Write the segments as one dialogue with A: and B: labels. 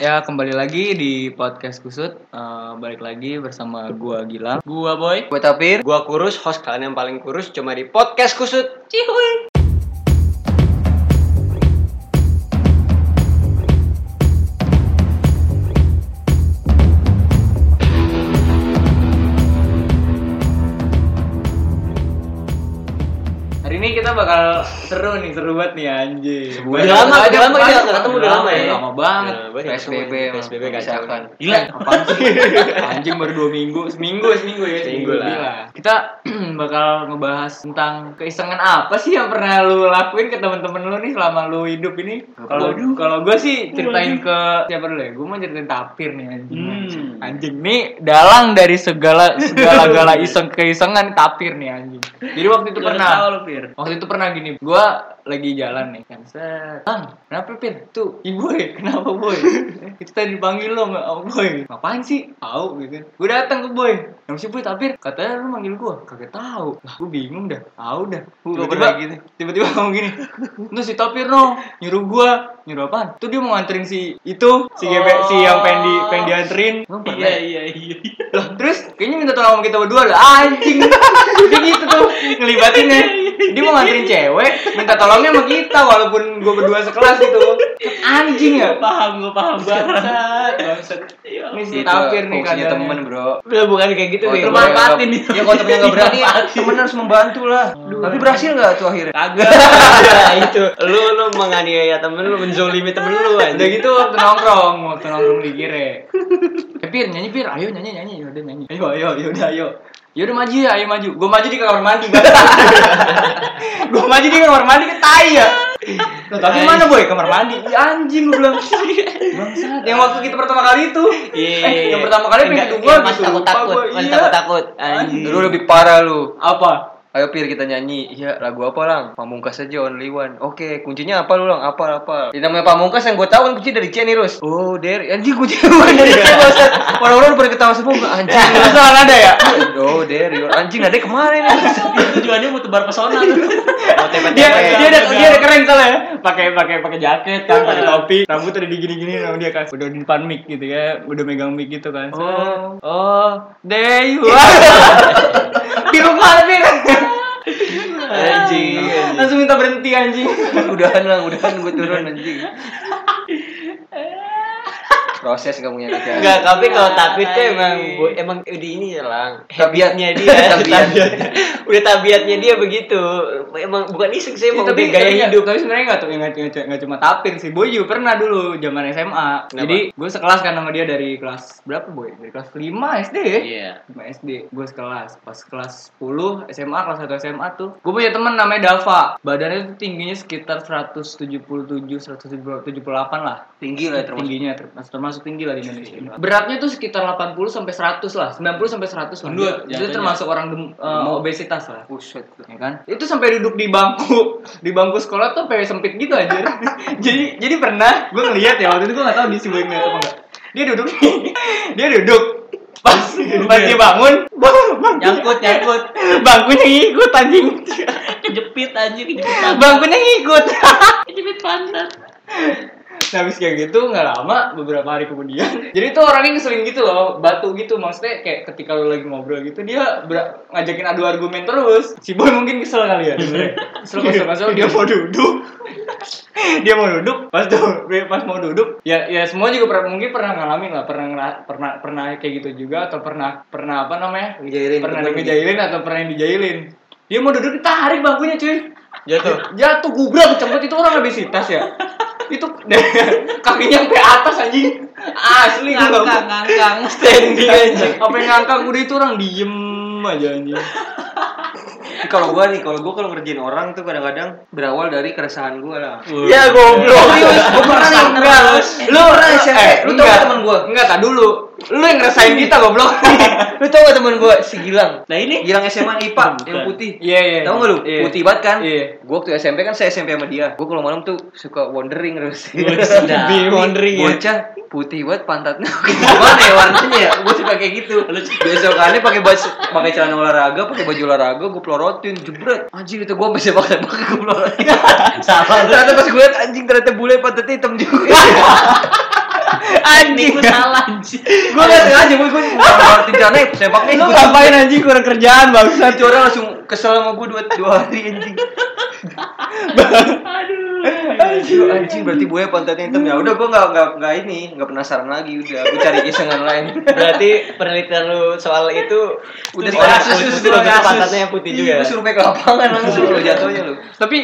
A: Ya kembali lagi di podcast kusut Eh, Balik lagi bersama gua Gilang
B: Gua boy,
C: Gue tapir.
B: gua kurus, host kalian yang paling kurus cuma di podcast kusut. Cihuy.
A: Hari ini kita bakal seru nih Seru banget nih anjing
B: Udah lama, udah lama kita nggak ketemu udah lama ya.
A: ya? Lama banget
B: Udah lama banget nggak ketemu.
C: PSBB,
B: PSBB
C: emang
B: kacau.
C: memisahkan.
A: kan Gila apaan sih Anjing baru dua minggu Seminggu seminggu ya
B: Seminggu lah.
A: Kita bakal ngebahas tentang keisengan apa sih yang pernah lu lakuin ke temen-temen lu nih selama lu hidup ini Kalau kalau gua sih ceritain ke siapa dulu ya Gua mau ceritain tapir nih anjing
B: Hmm.
A: Anjing nih dalang dari segala segala gala iseng keisengan tapir nih anjing. Jadi waktu itu pernah
B: lu, Fir.
A: waktu itu pernah gini, gua lagi jalan nih kan. Set. Bang, kenapa Pir? Tuh, ibu boy, kenapa boy? Eh, Kita tadi dipanggil lo nggak sama boy. Apaan sih? Tahu gitu. Gua datang ke boy. Yang si boy tapir, katanya lu manggil gua. Kagak tahu. Lah, gua bingung dah. Ah udah.
C: Gua
A: Tiba-tiba
C: nggak pernah gitu.
A: tiba-tiba ngomong gini. Terus si tapir no nyuruh gua, nyuruh apaan? Tuh dia mau nganterin si itu, si gebe, si yang pengen di pengen dianterin. Emang pernah ya?
B: iya, iya.
A: Loh, terus kayaknya minta tolong sama kita berdua lah anjing dia gitu tuh ngelibatinnya dia mau nganterin cewek minta tolongnya sama kita walaupun gue berdua sekelas gitu anjing ya
B: Paham, gua paham
A: bangsat bangsat Iya. ini si
C: Itu
A: tapir nih
C: fungsinya
A: kadang
C: temen bro.
B: Udah bukan kayak gitu
C: Kalau
A: Iya,
B: deh. Iya.
C: temennya
B: Manfaatin
C: nggak-
B: itu.
C: Ya kalau temennya nggak berani, temen harus membantu lah. Tapi berhasil nggak tuh akhirnya?
B: Kagak. Iya, itu. Lu lu menganiaya temen lu, menzolimi temen lu
A: udah
B: anjing.
A: gitu waktu nongkrong waktu nongkrong di kire eh, pir nyanyi pir ayo nyanyi nyanyi yaudah nyanyi ayo ayo yaudah ayo yaudah maju ya ayo maju gue maju di kamar mandi gue maju di kamar mandi ke tai ya Loh, tapi mana
B: Iya,
A: boy kamar mandi Ih, anjing gue bilang bangsat yang waktu kita pertama kali itu
B: Iya,
A: eh,
B: iya,
A: yang
B: iya.
A: pertama kali gitu,
B: Enggak,
A: pintu
B: yang
A: gue
B: masih takut-takut, masih
A: iya?
B: takut-takut. Anjing.
C: Lu lebih parah lu.
A: apa
C: Ayo Pir kita nyanyi. Iya, lagu apa lang? Pamungkas aja Only One. Oke, kuncinya apa lu lang? Apa apa? Ini namanya Pamungkas yang gue tahu kan kunci dari Chen Rus. Oh, dari anjing kunci bukan dari Chen Ustaz. Orang-orang udah pada ketawa semua gua, anjing.
A: perasaan Iya. ada ya
C: Oh, dari anjing ada kemana ini?
B: Tujuannya mau tebar pesona tuh. Mau tepet
A: dia dia ada
B: Iya.
A: dia ada keren soalnya ya. pakai pakai pakai jaket kan pakai topi rambut ada digini gini sama dia kan udah di depan mic gitu ya udah megang mic gitu kan
C: Oh.
A: oh there you are biru banget Pir.
C: Anjing. anjing.
A: langsung minta berhenti anjing
C: udahan lang, udahan gue turun anjing. Proses kamu yang kerja.
B: Enggak, tapi kalau
C: iya,
B: tapi tuh emang bu- emang di ini ya lang. Tabiatnya dia,
C: Iya, Tabiat.
B: tabiatnya. Udah tabiatnya dia begitu. Emang bukan iseng sih,
C: Iya,
B: emang udah gaya
A: Iya,
B: hidup.
A: tapi sebenarnya nggak tuh nggak nggak- nggak cuma tapir sih boy juga pernah dulu zaman SMA jadi gue sekelas kan sama dia dari kelas berapa boy dari kelas 5 SD ya
B: Iya.
C: iya,
A: sama SD gue sekelas pas kelas 10 SMA kelas 1 SMA tuh gue punya temen namanya Dava badannya tuh tingginya sekitar 177 178 lah
C: Tinggi lah termasuk.
A: tingginya termasuk, termasuk tinggi lah di Indonesia beratnya tuh sekitar 80 sampai 100 lah 90 sampai 100 lah
B: Gendut,
A: Dia- itu
B: jatuhnya.
A: termasuk orang dem- eh, obesitas lah
C: Buset.
A: ya kan itu sampai duduk di bangku di bangku sekolah tuh sampai sempit gitu aja jadi jadi pernah gue ngeliat ya waktu itu gue nggak tahu di si boy ngeliat apa enggak dia duduk dia duduk pas pas dia bangun bang, bang,
B: Nyangkut, nyangkut.
A: bangkunya ngikut anjing
B: Kejepit anjir, kejepit
A: bangkunya ngikut
B: Kejepit pantat.
A: Nah, habis kayak gitu nggak lama beberapa hari kemudian. Jadi tuh orangnya ngeselin gitu loh, batu gitu maksudnya kayak ketika lu lagi ngobrol gitu dia ber- ngajakin adu argumen terus. Si boy mungkin kesel kali ya. sebenarnya. Kesel kesel kesel dia mau duduk. dia mau duduk pas tuh pas mau duduk ya ya semua juga pernah mungkin pernah ngalamin lah pernah ngera- pernah pernah kayak gitu juga atau pernah pernah apa namanya
C: Ngejailin
A: pernah
C: temen.
A: ngejailin atau pernah dijailin dia mau duduk ditarik bangkunya cuy
C: Jatuh.
A: jatuh gubrak kecempet itu orang obesitas ya itu kakinya sampai atas anjing asli gua nggak-
B: Ngangkang, ngangkang.
C: Standing anjing.
A: apa yang ngangkang udah itu orang diem aja anjing
C: Tapi kalau gua nih, kalau gua kalau ngerjain orang tuh kadang-kadang berawal dari keresahan gua lah.
B: Iya,
A: ya goblok
C: Serius, gua pernah nih,
A: enggak
C: terus.
A: Eh, lu
C: Gua pernah
A: pernah
C: SMP, lu tau gak temen gua?
A: enggak tak dulu lu yang ngerasain kita goblok
C: Lu tau gak temen gua si Gilang?
B: Nah ini
C: Gilang SMA IPA yang putih.
A: iya iya
C: Tahu gak lu?
A: Iya.
C: Putih banget kan?
A: iya
C: Gua waktu SMP kan saya SMP sama dia. Gua kalau malam tuh suka wandering terus.
B: sudah.
C: Bi-
B: Wandering ya.
C: Bocah putih banget pantatnya. Gimana ya warnanya ya? Gua suka kayak gitu. Besokannya pakai baju pakai celana olahraga, pakai baju olahraga gua pelorotin jebret. Anjir itu gua bisa pakai pakai gua pelorotin.
B: Salah lu.
C: ternyata pas gue liat anjing ternyata bule pantatnya hitam juga.
B: Ini gue salah anjing.
C: Gue gak sengaja, gue gue ngerti caranya sepak nih.
A: Eh, Lu ngapain anjing kurang kerjaan bangsat.
C: Satu orang langsung kesel sama gue dua, dua hari anjing.
B: Aduh.
C: Aduh, anjing berarti buaya pantatnya hitam ya. Udah gue nggak nggak nggak ini nggak penasaran lagi. Udah gue cari isengan lain.
B: Berarti penelitian lu soal itu
C: Udah
B: soal kulit
C: kasus, udah
B: putih,
C: kasus.
B: terus pantatnya yang putih juga. ya?
C: Lu suruh Iya, ke lapangan langsung lu jatuhnya lu.
A: Tapi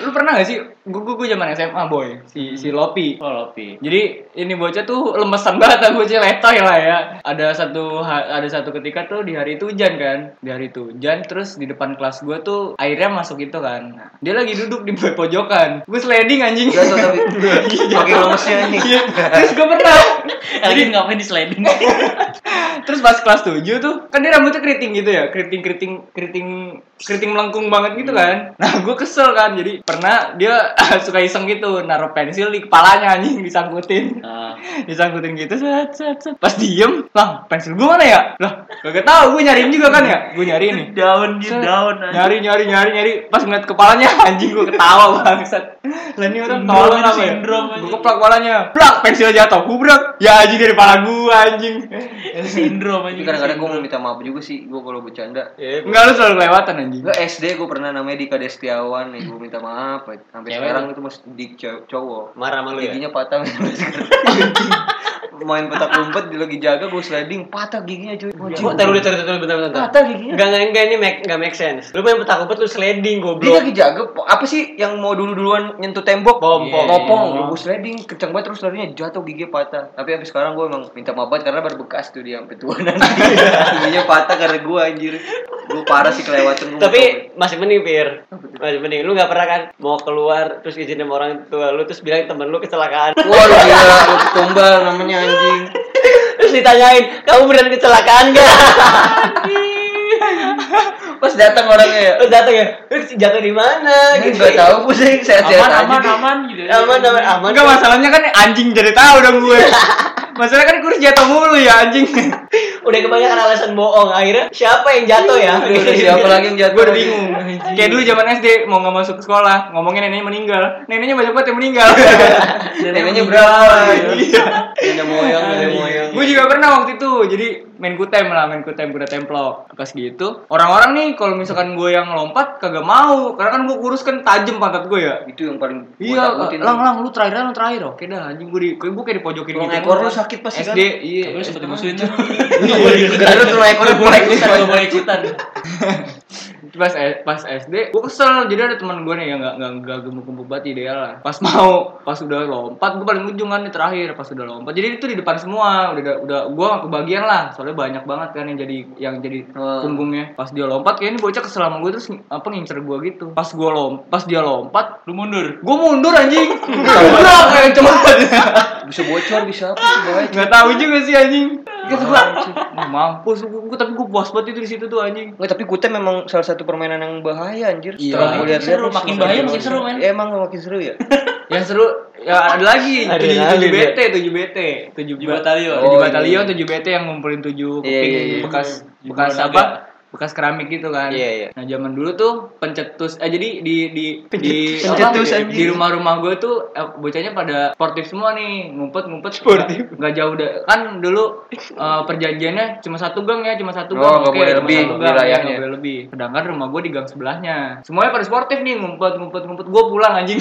A: lu pernah gak sih gue gue zaman SMA boy si si Lopi.
B: Oh, Lopi.
A: Jadi ini bocah tuh lemesan banget lah bocah letoy lah ya. Ada satu ha- ada satu ketika tuh di hari itu hujan kan. Di hari itu hujan terus di depan kelas gue tuh airnya masuk itu kan. Dia lagi duduk di pojokan. Gue sliding anjing.
C: Jatuh tapi pakai lemesnya ini.
A: Iya. Terus gue pernah.
B: Jadi ngapain di sliding?
A: Terus pas kelas 7 tuh kan dia rambutnya keriting gitu ya, keriting keriting keriting keriting melengkung banget gitu kan. Nah gue kesel kan, jadi pernah dia suka iseng gitu naruh pensil di kepalanya anjing disangkutin,
B: Ah.
A: disangkutin gitu. Set, set, set. Pas diem, lah pensil gue mana ya? Lah kagak tahu, gue nyariin juga kan ya, gue nyariin nih.
B: Down di
A: Set,
B: down. anjing.
A: nyari nyari nyari nyari pas ngeliat kepalanya anjing gue ketawa bangsat lah ini orang
B: Sindrom,
A: tolong
B: ini
A: apa ya
B: sindrom,
A: gue
B: anjing.
A: keplak kepalanya blak pensil jatuh gubrak ya anjing dari kepala gue anjing
B: Sindrom
C: Tapi
B: anjing.
C: kadang-kadang gue mau minta maaf juga sih. Gue kalau bercanda.
B: Ya,
A: enggak lu selalu kelewatan anjing
C: Gue SD gue pernah namanya Dika Destiawan nih. Gue minta maaf. Sampai
B: Cewek.
C: sekarang itu masih dik cow- cowok.
B: Marah sama lu ya?
C: Giginya patah. main petak umpet dia lagi jaga gue sliding patah giginya cuy
B: Gua taruh dulu, taruh taruh bentar bentar. bentar.
C: patah giginya
B: Enggak enggak enggak ini make, enggak make sense. Lu main petak umpet lu sliding
C: dia
B: goblok.
C: lagi jaga po- apa sih yang mau dulu duluan nyentuh tembok
B: Bom, bom.
C: popong gue sliding kenceng banget terus larinya jatuh gigi patah tapi abis sekarang gue emang minta maaf banget karena berbekas tuh dia sampai tua nanti giginya patah karena gue anjir gue parah sih kelewatan gua
B: Tapi masih mending Fir. Masih mending. Lu nggak pernah kan mau keluar terus izin sama orang tua lu terus bilang temen lu kecelakaan.
C: mau- wah lu gila lu tumbal namanya anjing
B: terus ditanyain, "Kamu beneran kecelakaan gak?
C: pas datang orangnya ya
B: terus datang ya, "Terus jatuh di mana?"
C: "Ini
B: gitu.
C: nggak tahu gue sih sehat sehat aja
D: aman,
C: Dik."
D: aman gitu.
B: Aman ya. aman aman.
A: enggak masalahnya kan anjing jadi tahu dong gue masalahnya kan kurus jatuh mulu ya anjing
B: Udah kebanyakan alasan bohong akhirnya. Siapa yang jatuh ya?
C: Aduh, Iya, siapa lagi yang jatuh
A: gue udah bingung kayak dulu zaman SD mau nggak masuk sekolah ngomongin neneknya meninggal neneknya banyak banget yang meninggal
C: neneknya berapa nenek
A: Iya.
C: moyang nenek moyang
A: Gue juga pernah waktu itu, jadi main kutem lah, main kutem kuda templok. Pas gitu, orang-orang nih kalau misalkan gue yang lompat kagak mau, karena kan gue kurus kan tajem pantat gue ya.
C: itu yang paling gua
A: Iya,
C: takutin.
A: lang lang lu terakhir lang, lu terakhir oke dah anjing gue di gue kayak dipojokin
C: Tulang
A: gitu.
C: ekor lu sakit pasti kan?
A: SD, iya.
D: Gue sempet musuhin tuh.
C: Gara-gara tulang ekornya boleh
D: Kalau boleh ikutan.
A: pas E, pas SD gue kesel jadi ada teman gue nih yang nggak nggak nggak gemuk gemuk banget ideal lah pas mau pas udah lompat gue paling ujung kan nih terakhir pas udah lompat jadi itu di depan semua udah udah gue kebagian lah soalnya banyak banget kan yang jadi yang jadi
C: Hmm.
A: punggungnya pas dia lompat kayaknya ini bocah kesel sama gue terus apa ngincer gue gitu pas gue lompat pas dia lompat
D: Lu mundur.
A: gue mundur anjing mundur kayak cepet
C: Bisa bocor, bisa apa sih bahaya.
A: nggak tahu juga sih anjing gitu gue mampus gue tapi gue puas banget itu di situ tuh anjing
C: Nggak, tapi kutem memang salah satu permainan yang bahaya anjir.
A: Iya.
D: Makin
C: Setelah gua lihat-lihat,
D: seru,
C: terus
D: makin
C: semakin
D: bahaya,
C: seru.
D: makin seru, men.
C: Ya, emang makin seru ya.
A: Yang seru ya ada lagi
B: Ada
A: tujuh
B: lagi,
A: tujuh
B: dia.
A: BT tujuh BT tujuh
D: Tujuh batalion.
A: tujuh
C: Oh,
A: batalion
C: iya.
A: tujuh BT yang ngumpulin tujuh
C: Iya,
A: kuping
C: iya, iya.
A: bekas
D: Iya.
A: bekas
D: Jumlah
A: apa
D: naga.
A: bekas keramik gitu kan.
B: Iya, iya.
A: Nah zaman dulu tuh pencetus eh jadi di di di
C: Pencetus. Pencetus,
A: apa,
C: anjing.
A: di rumah-rumah gue tuh eh, bocahnya pada sportif semua nih ngumpet ngumpet sportif nggak jauh da- kan dulu eh, perjanjiannya cuma satu gang ya cuma satu
C: Oh,
A: gang
C: nggak
A: oke,
C: boleh
A: cuma
C: lebih
A: satu gang, ya,
C: wilayahnya.
A: nggak boleh lebih sedangkan rumah gue di gang sebelahnya semuanya pada sportif nih ngumpet ngumpet ngumpet gue pulang anjing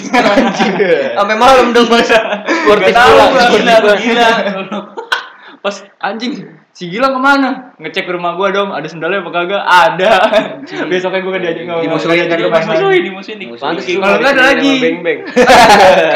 C: Sampai malam dong, Mas.
A: Sportif pula, sportif pula.
D: Gila.
A: Pas anjing, si Gilang kemana? Ngecek rumah gua dong, ada sendalnya apa kagak? Ada. Besoknya gua kan diajak ngomong.
C: Dimusuhin
D: iya.
C: kan lu, Mas?
D: Dimusuhin, dimusuhin.
B: Pantes
D: dimusuhin.
B: lu
A: Kalau nggak ada
B: dikenalin sama
A: lagi.
B: Beng-beng.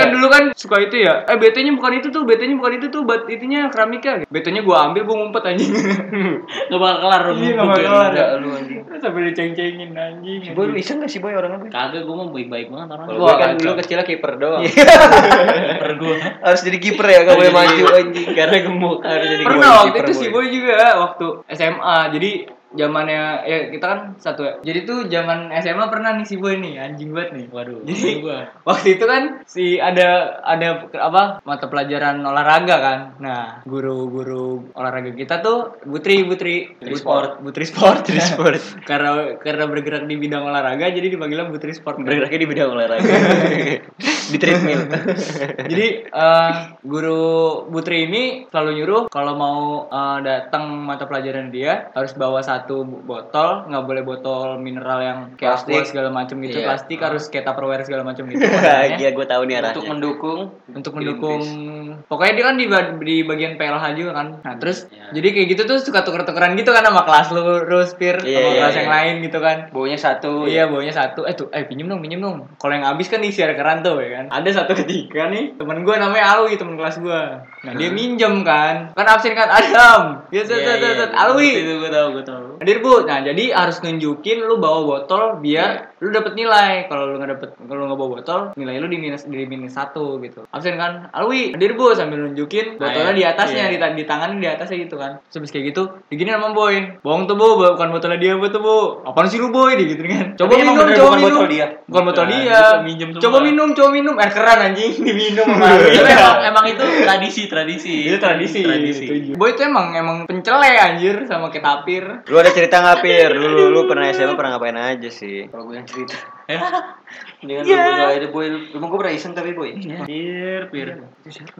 A: kan dulu kan suka itu ya. Eh BT-nya bukan itu tuh, BT-nya bukan itu tuh, bat itunya keramika. BT-nya gua ambil, gua ngumpet anjing.
D: Gak bakal kelar. lu
A: Iya, nggak
D: mundur.
A: bakal kelar.
C: Enggak, lu anjing.
A: Sampai diceng-cengin anjing.
C: Si Boy, lu iseng gak sih Boy orangnya, Boy?
D: Kagak, gue mau baik-baik banget orang.
B: Gua kan dulu kecilnya kiper doang.
D: Kiper gua.
C: Harus jadi kiper ya, gak boleh maju anjing.
B: Karena gemuk harus jadi
A: Pernah
B: gua
A: waktu
B: kiper,
A: itu si
B: Boy.
A: Boy juga waktu SMA. Jadi zamannya ya kita kan satu ya. Jadi tuh zaman SMA pernah nih si boy nih anjing banget nih.
D: Waduh,
A: Jadi-
D: Jadi, gua.
A: Waktu itu kan si ada ada apa mata pelajaran olahraga kan. Nah guru-guru olahraga kita tuh Butri Butri Butri
B: Sport.
A: Butri Sport.
B: Butri Sport.
A: karena karena bergerak di bidang olahraga jadi dipanggilnya Butri Sport.
B: Bergeraknya di bidang olahraga. di treadmill.
A: Jadi eh, guru Putri ini selalu nyuruh kalau mau eh, datang mata pelajaran dia harus bawa satu botol, nggak boleh botol mineral yang kayak
C: Plastik.
A: aqua segala macam gitu,
C: Iya.
A: plastik harus
B: Ah.
A: kayak tupperware segala macam gitu.
B: Bahagia
A: warnanya.
B: gue tahu nih
C: Untuk
B: arahnya. Iya,
C: mendukung
A: untuk mendukung pokoknya dia kan di, ba- di bagian PLH juga kan. Nah, terus
D: Iya.
A: jadi kayak gitu tuh suka tuker-tukeran gitu kan sama kelas lu, Ruspir,
B: Iya,
A: sama
B: iya,
A: kelas yang
B: iya.
A: lain gitu kan.
C: baunya satu.
A: Oh iya, bawanya satu. Eh tuh, eh pinjem dong, pinjem dong. Kalau yang habis kan diisi keran tuh ya kan. Ada satu ketika nih, temen gue namanya Alwi, temen kelas gue. Nah, dia minjem kan. Kan absen kan Adam. Ya, set, set,
D: Iya,
A: set,
D: iya.
A: set. Alwi.
D: Itu gua tahu, gua tahu.
A: Hadir bu, nah jadi harus nunjukin lu bawa botol biar lu dapet nilai. Kalau lu nggak dapet, kalau lu nggak bawa botol, nilai lu di minus di minus satu gitu. Absen kan, Alwi, hadir bu sambil nunjukin botolnya
D: iya.
A: di atasnya,
D: Iya.
A: di, ta- di tangan di atasnya gitu kan. Terus habis kayak gitu, begini sama boy, bohong tuh bu, bukan botolnya dia bu tuh bu. Apaan sih lu boy, gitu kan? Coba
C: Tapi emang
A: minum,
C: bener
A: coba
C: bukan
A: minum.
C: botol dia?
A: Bukan botol
D: Bukan,
A: dia.
D: itu minjem semua.
A: Coba minum, coba minum. Air keran anjing, diminum. sama
D: Tapi
A: Alwi.
D: emang, emang itu tradisi, tradisi.
A: Itu tradisi.
D: Tradisi.
A: Setuju. Boy itu emang emang pencele anjir sama kayak tapir.
B: Lu ada cerita nggak Pir? Lu, lu, lu pernah SMA pernah ngapain aja sih?
C: Kalau gue yang cerita.
D: Eh,
C: Dengan
A: Iya.
C: lu doain deh, boy. Emang gue pernah iseng tapi boy.
D: Pir, pir.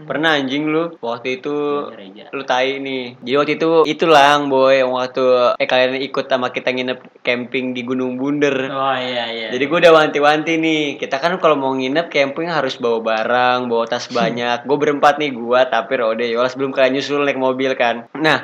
B: Pernah anjing lu waktu itu
D: Reja.
B: lu tai nih. Jadi Ya, waktu itu itu lang boy yang waktu eh kalian ikut sama kita nginep camping di Gunung Bunder.
D: Oh iya iya.
B: Jadi gue udah wanti-wanti nih. Kita kan kalau mau nginep camping harus bawa barang, bawa tas banyak. gue berempat nih, gue tapi Rode Yolas belum kalian nyusul naik mobil kan. Nah,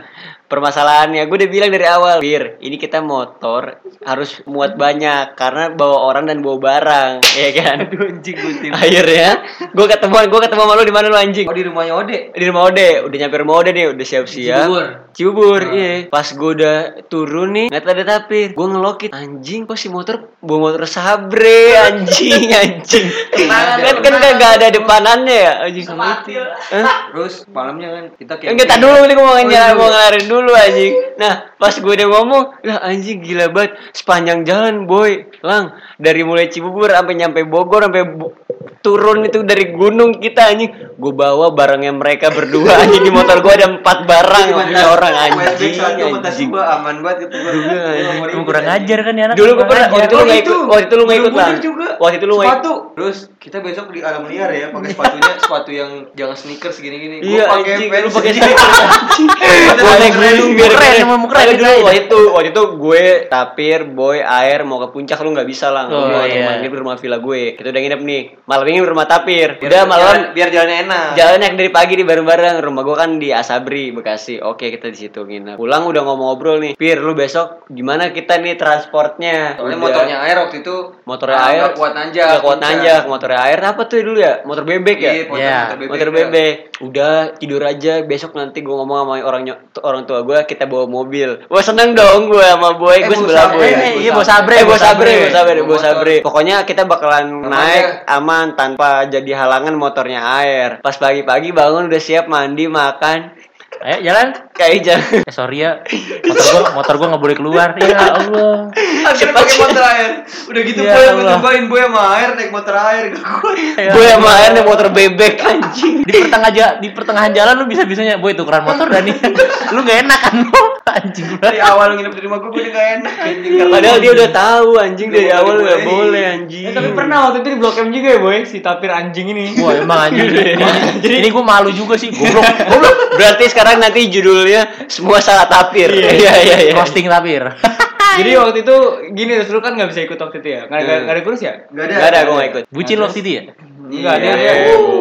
B: permasalahannya gue udah bilang dari awal, Bir, ini kita motor harus muat banyak karena bawa orang dan bawa barang, ya kan?
D: anjing gua tim.
B: Akhirnya gue ketemuan, gue ketemu sama lu di mana lu anjing?
C: Oh di rumahnya Ode.
B: di rumah Ode, udah nyampe rumah Ode nih, udah siap-siap.
D: Cibubur.
B: Cibubur, iya. Pas gue udah turun nih, nggak ada tapir. Gue ngelokit, anjing kok si motor bawa motor sabre, anjing, anjing. kan kan kan nggak ada depanannya ya, anjing.
D: Matil.
B: Hah?
C: Terus malamnya kan kita kayak.
B: Enggak, tak dulu ini gue
C: Oh,
B: mau
C: iya,
B: nyala, mau ngelarin dulu anjing. Nah, pas gue udah ngomong, lah anjing gila banget sepanjang jalan boy, lang dari mulai Cibubur sampai nyampe Bogor sampai Bo- turun itu dari gunung kita anjing. Gue bawa barangnya mereka berdua anjing di motor gue ada empat barang anjing orang anjing. anjing.
C: gue aman banget gitu gue.
B: Emang
D: Kurang ajar kan ya anak.
B: Dulu gue pernah waktu itu lu
C: Oh,
B: nggak ikut,
C: itu.
B: waktu itu lu nggak ikut
C: Buru-buru
B: lang.
C: juga.
B: Waktu itu lu nggak ikut.
C: sepatu. Terus kita besok di alam liar ya pakai sepatunya sepatu yang jangan sneakers gini-gini. Gua
B: Iya, anjing, lu pakai
C: sendiri.
B: sneakers, anjing. Pakai
C: Keren,
B: gini, biar
D: keren,
B: keren.
D: emang keren,
B: Ada dulu
D: keren.
B: waktu itu, waktu itu gue tapir, boy, air mau ke puncak lu nggak bisa lah.
D: Oh,
B: Gue waktu
D: iya.
B: nginep di rumah villa gue. Kita udah nginep nih. Malam ini di rumah tapir.
D: Iya,
C: Biar
B: Udah malam
C: jalan- biar jalannya enak.
B: jalan naik dari pagi di bareng-bareng. Rumah gue kan di Asabri, Bekasi. Oke, kita di situ nginep. Pulang udah ngomong-ngobrol nih. Pir, lu besok gimana kita nih transportnya?
C: Soalnya
B: Udah.
C: motornya air waktu itu
B: motornya
C: ah,
B: air
C: nggak kuat nanjak.
B: nggak kuat nanjak motornya air apa tuh dulu ya motor bebek ya
C: Iya, motor-
B: Iya,
C: motor bebek,
B: motor
C: ya.
B: bebek udah tidur aja besok nanti gue ngomong sama orang nyo- orang tua gue kita bawa mobil wah seneng dong gue sama boy
C: Eh,
B: gue
C: bawa
B: sebelah
C: sabre,
B: boy
C: eh,
B: iya
C: iya,
B: bawa
C: bawa
B: sabre
C: sabre,
B: bawa sabre
C: bawa
B: bawa sabre
C: motor.
B: bawa sabre pokoknya kita bakalan
C: Aman
B: naik aman tanpa jadi halangan motornya air pas pagi-pagi bangun udah siap mandi makan
D: Ayo jalan.
B: kayak jangan
D: Eh, sorry ya. Motor gua motor gua nggak boleh keluar. Ya Allah.
C: Akhirnya pakai motor air. Udah gitu
D: Ya
C: boy
D: Allah.
C: nyobain boy sama air naik motor air gak kuat.
B: gue sama air naik motor bebek anjing
D: Di pertengahan jalan, di pertengahan jalan lu bisa-bisanya boy tukeran motor dan nih. Lu nggak enak kan lu. Anjing lu.
C: Dari awal nginep di rumah gue gue udah gak enak. Anjing, gak
B: Padahal dia udah tahu anjing dari
C: Nggak
B: awal
C: boleh
B: nggak
C: dibolehin.
B: boleh anjing.
D: gitu.
A: Eh, tapi pernah waktu itu di Blok M juga ya boy si tapir anjing ini.
D: Wah emang anjing. Jadi ini gue malu juga sih. Goblok, goblok.
B: Berarti sekarang nanti judulnya semua salah tapir. Iya iya iya.
D: Roasting tapir.
A: Jadi waktu itu gini terus lu kan nggak bisa ikut waktu itu ya. Nggak ada
D: Iya.
A: nggak ada kurus ya?
C: Gak ada.
B: Gak ada gue gak ikut.
D: Bucin lo waktu itu ya?
C: Iya,
A: Enggak, dia, dia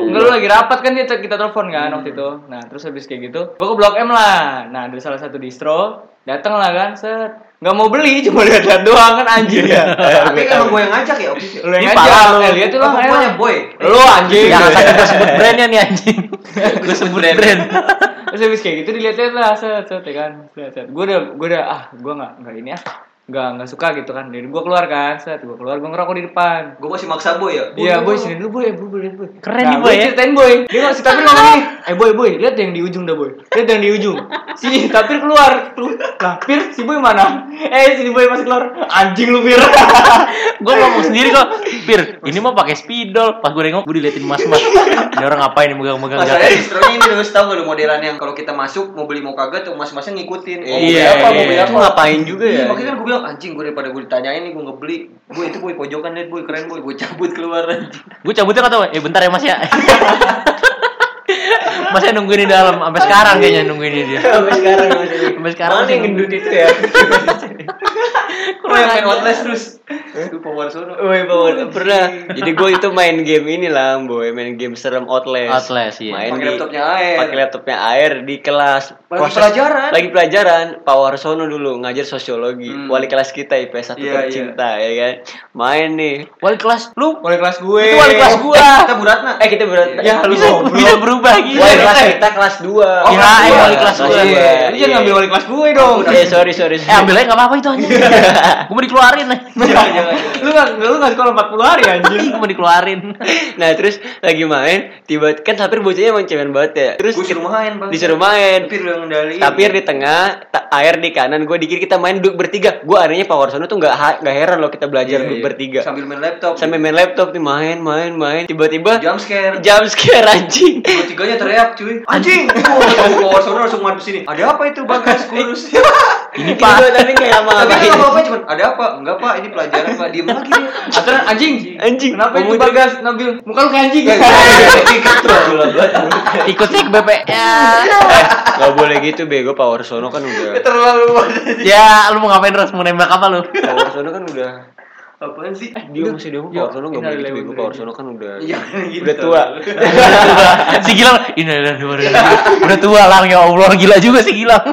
A: enggak lu lagi rapat kan kita, kita telepon kan waktu itu. Nah, terus habis kayak gitu, gua ke Blok M lah. Nah, ada salah satu distro, datang lah kan, set. Enggak mau beli, cuma lihat-lihat doang kan anjing ya.
C: Tapi emang gue yang ngajak ya waktu itu.
A: Lu yang
D: Iya. Ini parah
A: aja, Eh,
D: lu.
A: lihat tuh lah.
C: Apa
A: ayo.
C: pokoknya boy.
A: Lu anjing.
D: Yang akan gue sebut brandnya nih anjing. Gue sebut brand.
A: Terus habis kayak gitu dilihat-lihat lah, set, set, ya kan. Set, set. Gue udah, gue udah, ah, gue nggak, nggak ini ah. nggak nggak suka gitu kan jadi gue keluar kan set gue keluar gue ngerokok di depan
C: Gue masih maksa boy ya.
A: Iya boy sini dulu boy, eh, boy, boy, lihat, boy.
D: Keren
A: Nah,
D: nih, Boy,
A: gua
D: ya.
A: Ceritain boy, dia masih tapir ngomong nih. Eh boy boy, lihat yang di ujung dah boy, lihat yang di ujung. Sini tapir keluar, tuh tapir si boy mana? Eh sini boy masih keluar, anjing lu pir.
D: gue ngomong sendiri kok pir ini mah pakai spidol pas gue nengok gue diliatin mas mas ini orang ngapain nih megang-megang
C: Masalahnya
D: jaket
C: distro ini terus tahu gak lu modelan yang kalau kita masuk mau beli mau kagak tuh mas-masnya ngikutin. Oh, mau beli
B: Iya,
C: apa, mau
B: iya.
C: beli
B: Itu
C: apa.
B: ngapain juga
C: Iya,
B: ya?
C: makanya kan gue bilang anjing gue daripada gue ditanyain nih gue ngebeli. Gue itu boy pojokan lihat boy keren boy gue cabut keluar anjing.
D: gue cabutnya kata eh bentar ya mas ya masnya nungguin di dalam sampai sekarang kayaknya nungguin dia
B: Sampai sekarang masih.
D: Sampai sekarang
B: Mana
D: masih
B: yang gendut itu ya?
C: Gue yang main Outlast terus. Itu power sono.
B: Woi, Boy, pernah. Jadi gue itu main game ini lah, boy, main game serem Outlast.
D: Outlast, iya.
B: Main
C: Pakai
B: di-
C: laptopnya air.
B: Pakai laptopnya air di kelas.
C: Lagi pelajaran.
B: Lagi pelajaran. Pak Warsono dulu ngajar sosiologi.
C: Hmm.
B: Wali kelas kita IPS 1
C: Iya,
B: tercinta ya kan. Main nih.
D: wali kelas lu
A: Wali kelas gue.
D: itu wali kelas gua
C: Kita buratna. Iya.
B: Eh kita berat.
A: Ya lu
D: bisa,
A: goblok.
D: bisa berubah gitu
B: Wali kelas kita kelas 2.
D: Oh, kelas Kirain dua. wali kelas
A: Iya,
D: gua.
A: Iya, lu jangan ngambil wali kelas gue dong.
B: Eh sorry sorry.
D: eh ambil aja nggak apa-apa itu anjing gue mau dikeluarin lah
A: Lu nggak lu nggak sekolah 40 hari anjing.
D: gue mau dikeluarin
B: Nah terus lagi main tiba kan Sapir bocahnya emang cemen banget ya. Terus
C: Gue suruh main bang.
B: disuruh main.
C: Tapi lu yang ngendaliin.
B: Tapir di tengah, ta- air di kanan, gue di kiri kita main duduk bertiga. Gue anehnya Pak Warsono tuh nggak ha- nggak heran loh kita belajar
C: Iya,
B: duduk
C: iya.
B: bertiga.
C: Sambil main laptop.
B: Sampai main laptop nih main main main. Tiba-tiba
C: jump scare.
B: jam scare anjing.
C: Tiganya teriak cuy Anjing Power sono langsung madep sini Ada apa itu bagas kurus
B: Ini Pak. Tapi kayak apa
C: Tapi dia apa-apa cuman Ada apa? Enggak pak ini pelajaran pak Diem lagi dia
A: Aturan anjing.
B: Anjing.
A: Kenapa itu
B: Ngomong gitu.
A: bagas Nabil? Muka lu kayak anjing.
B: Gila banget.
D: ikut sih ke BP
B: Gak boleh gitu bego Pak Warsono kan udah.
C: Terlalu
D: ya lu mau ngapain terus mau nembak apa lu
B: Pak Warsono kan udah.
C: Apaan sih?
B: Dia masih dia Pak Warsono nggak boleh gitu bego Pak Warsono kan udah.
C: Jangan gitu.
B: Udah tua.
D: si Gilang ini udah udah tua lang ya Allah gila juga si Gilang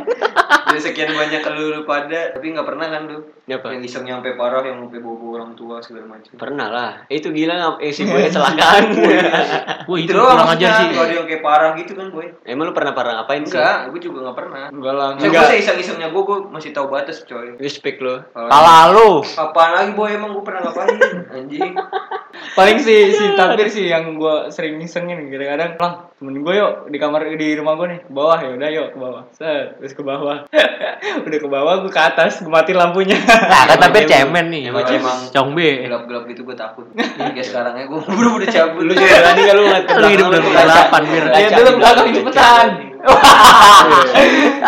C: Dari sekian banyak lu, lu pada Tapi nggak pernah kan lu
B: Iya, Pak.
C: Yang iseng nyampe parah Yang sampai bobo orang tua segala macam
B: Pernah lah. Itu gila ngap- eh si gue kecelakaan.
D: Wah
B: Oh,
D: itu
C: doang
D: kurang ajar
C: maksudnya,
D: sih.
C: nggak ada yang kayak parah gitu kan boy
B: Emang lu pernah pernah ngapain sih?
C: Enggak, gue juga nggak pernah
A: Enggak lah.
C: Saya gue iseng-isengnya gue, gue masih tahu batas coy
B: Respect lo.
D: Pala lu.
C: Kapan lagi boy emang gue pernah ngapain anjing?
A: paling si si tapir sih yang gue sering isengin kadang-kadang lang temen gue yuk di kamar di rumah gue nih ke bawah ya udah yuk ke bawah set terus ke bawah udah ke bawah gue ke atas gue matiin lampunya
D: Nah, kan tapi
B: Emang
D: cemen nih.
B: Emang
C: cemen.
D: Cong B.
C: Gelap-gelap gitu gue takut. Jadi kayak sekarang ya gue udah udah cabut.
B: Lu juga berani gak lu ngeliat ke
D: Lu
B: belakang
D: hidup dari
B: kaca?
D: delapan, Mir.
B: Kaca.
A: ya dulu belakang cepetan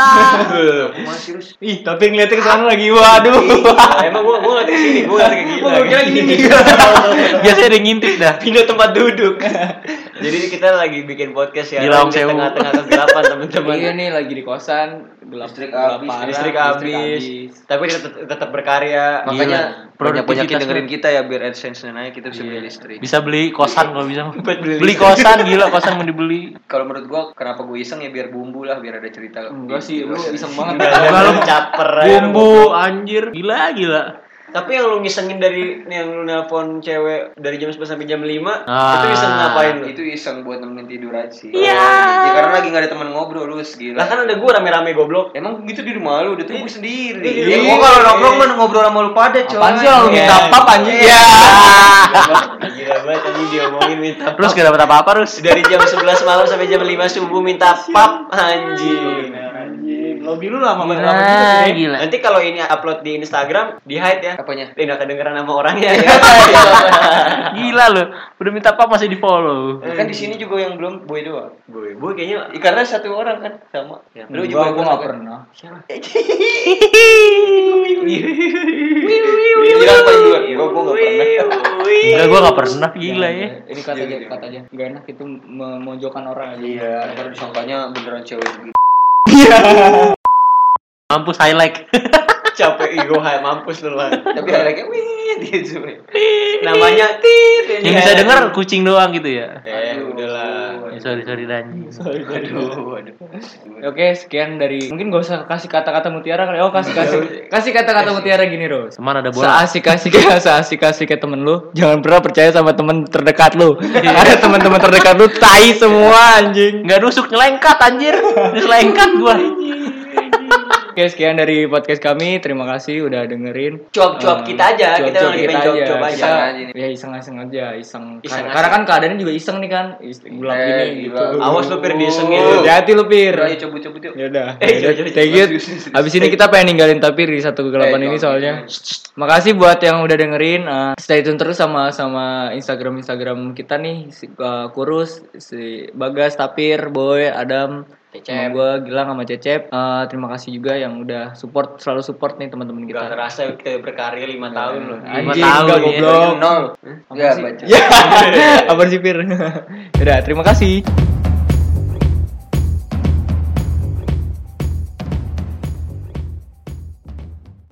C: Masih terus.
A: ih tapi ngeliatnya ke sana lagi waduh
B: Nah, Emang gua gua ngeliat ke sini, gua ngeliat ke gila.
A: Gua kira gitu. gini nih.
D: Biasanya ada yang ngintip dah.
B: Pindah tempat duduk. Jadi kita lagi bikin podcast ya.
D: Di Lawang
B: di
D: Sewu.
B: tengah-tengah kegelapan teman-teman.
A: iya nih lagi di kosan gelap
C: Listrik
A: gelap
C: habis,
A: parah,
B: Listrik habis, tapi tetap, tetap berkarya.
C: Iya, Makanya banyak banyakin
D: Produktivitas
C: dengerin kita ya biar adsense naik kita bisa beli listrik.
D: Bisa beli kosan kalau bisa.
A: Iya.
B: Buat beli
D: Beli kosan gila kosan mau dibeli.
C: Kalau menurut gue kenapa gue iseng ya biar bumbu lah biar ada cerita. Iya.
A: enggak sih lu iseng
B: Gak
A: banget
B: ada
D: Enggak,
B: lu
D: lu
B: caper aja.
D: Bumbu anjir. Gila gila.
B: Tapi yang lu ngisengin dari yang lu nelpon cewek dari jam 11 sampai jam 5 itu
D: Ah.
B: iseng ngapain lu?
C: Itu iseng buat nemenin tidur aja sih. Iya. Ya karena lagi gak ada teman ngobrol lu
B: Lah
C: segila.
B: kan udah gua rame-rame goblok.
C: Emang gitu di rumah lu udah tunggu sendiri.
B: Iya.
C: Ya gua kalau nongkrong mah ngobrol sama lu pada coy.
A: apaan sih lu minta
B: Iya.
A: apa anjing
D: Ya.
B: Gila banget anjing diomongin minta
D: Terus gak dapat apa-apa terus.
B: dari jam 11 malam sampai jam 5 subuh minta pap anjing.
A: anjing lobby lu lama banget lama juga
D: Nah,
A: sih, ya. Dek.
D: gila.
B: Nanti kalau ini upload di Instagram di hide ya.
C: Apanya?
B: Eh, nggak kedengeran nama orangnya
C: Iya,
B: ya.
D: Gila lu. Udah minta apa masih di-follow.
C: Kan di sini juga yang belum boy doang.
B: Boy, boy kayaknya
C: Ya, karena satu orang kan sama.
D: Ya,
A: Gua-
C: Lu juga
A: gua
C: nggak
A: nggak pernah
C: Bilang paling duluan. Iya, Gua gua nggak pernah.
D: Enggak gua gak pernah gila ya.
A: Ini kata aja, kata aja. Gak enak itu memojokkan orang.
C: Iya, ntar disangkanya beneran cewek gitu.
D: Mampus highlight.
B: capek ego hai mampus lu lah.
C: Tapi highlightnya wih gitu.
B: Namanya tit. ini
D: Yang bisa
B: highlight.
D: denger kucing doang gitu ya.
B: Eh, udahlah.
D: Ya, sorry sorry Danji.
C: Aduh, aduh. Ya,
A: Oke, sekian dari mungkin gak usah kasih kata-kata mutiara kali. Oh, kasih kasih kasih kata-kata mutiara gini, Ros.
D: Cuman ada bola.
A: Seasik asik seasik asik ke temen lu, jangan pernah percaya sama temen terdekat lu.
B: Iya.
A: Ada teman-teman terdekat lu tai semua anjing.
D: Enggak nusuk nyelengkat anjir. Diselengkat gua.
A: Oke, sekian dari podcast kami. Terima kasih udah dengerin.
B: Cuap-cuap
A: Eh,
B: kita aja, Ya, kita
A: cuap-cuap
B: lebih pengen cuap-cuap aja.
A: Kita-
C: Iseng aja nih.
A: Ya iseng-iseng aja, iseng.
B: Iseng Iya,
A: karena, karena kan keadaannya juga iseng nih kan. Iseng gelap
C: Eh,
A: gini
C: gila.
A: gitu.
B: Awas lu Iya, pir disengin lu.
A: Hati-hati lu, Pir.
C: Udah, ayo cabut-cabut yuk.
A: Ya udah.
B: Eh,
A: Ya udah,
B: jujur,
A: Thank you. Abis ini kita pengen ninggalin tapi di satu kegelapan
C: Eh, iya.
A: ini
C: jangan
A: soalnya. Makasih buat yang udah dengerin. eh, stay tune terus sama sama Instagram Instagram kita nih si eh, kurus si Bagas, Tapir, Boy, Adam, sama
B: Cecep.
A: gue Gilang sama Cecep. Eh, terima kasih juga yang udah support selalu support nih teman-teman
B: Gak
A: kita.
B: terasa kita berkarya 5 tahun loh.
A: Anjing,
B: 5 Iya. tahun
A: gak
B: ya.
A: goblok.
B: Nol.
C: Ya, baca.
A: Ya, apa sih Pir? Udah, terima kasih.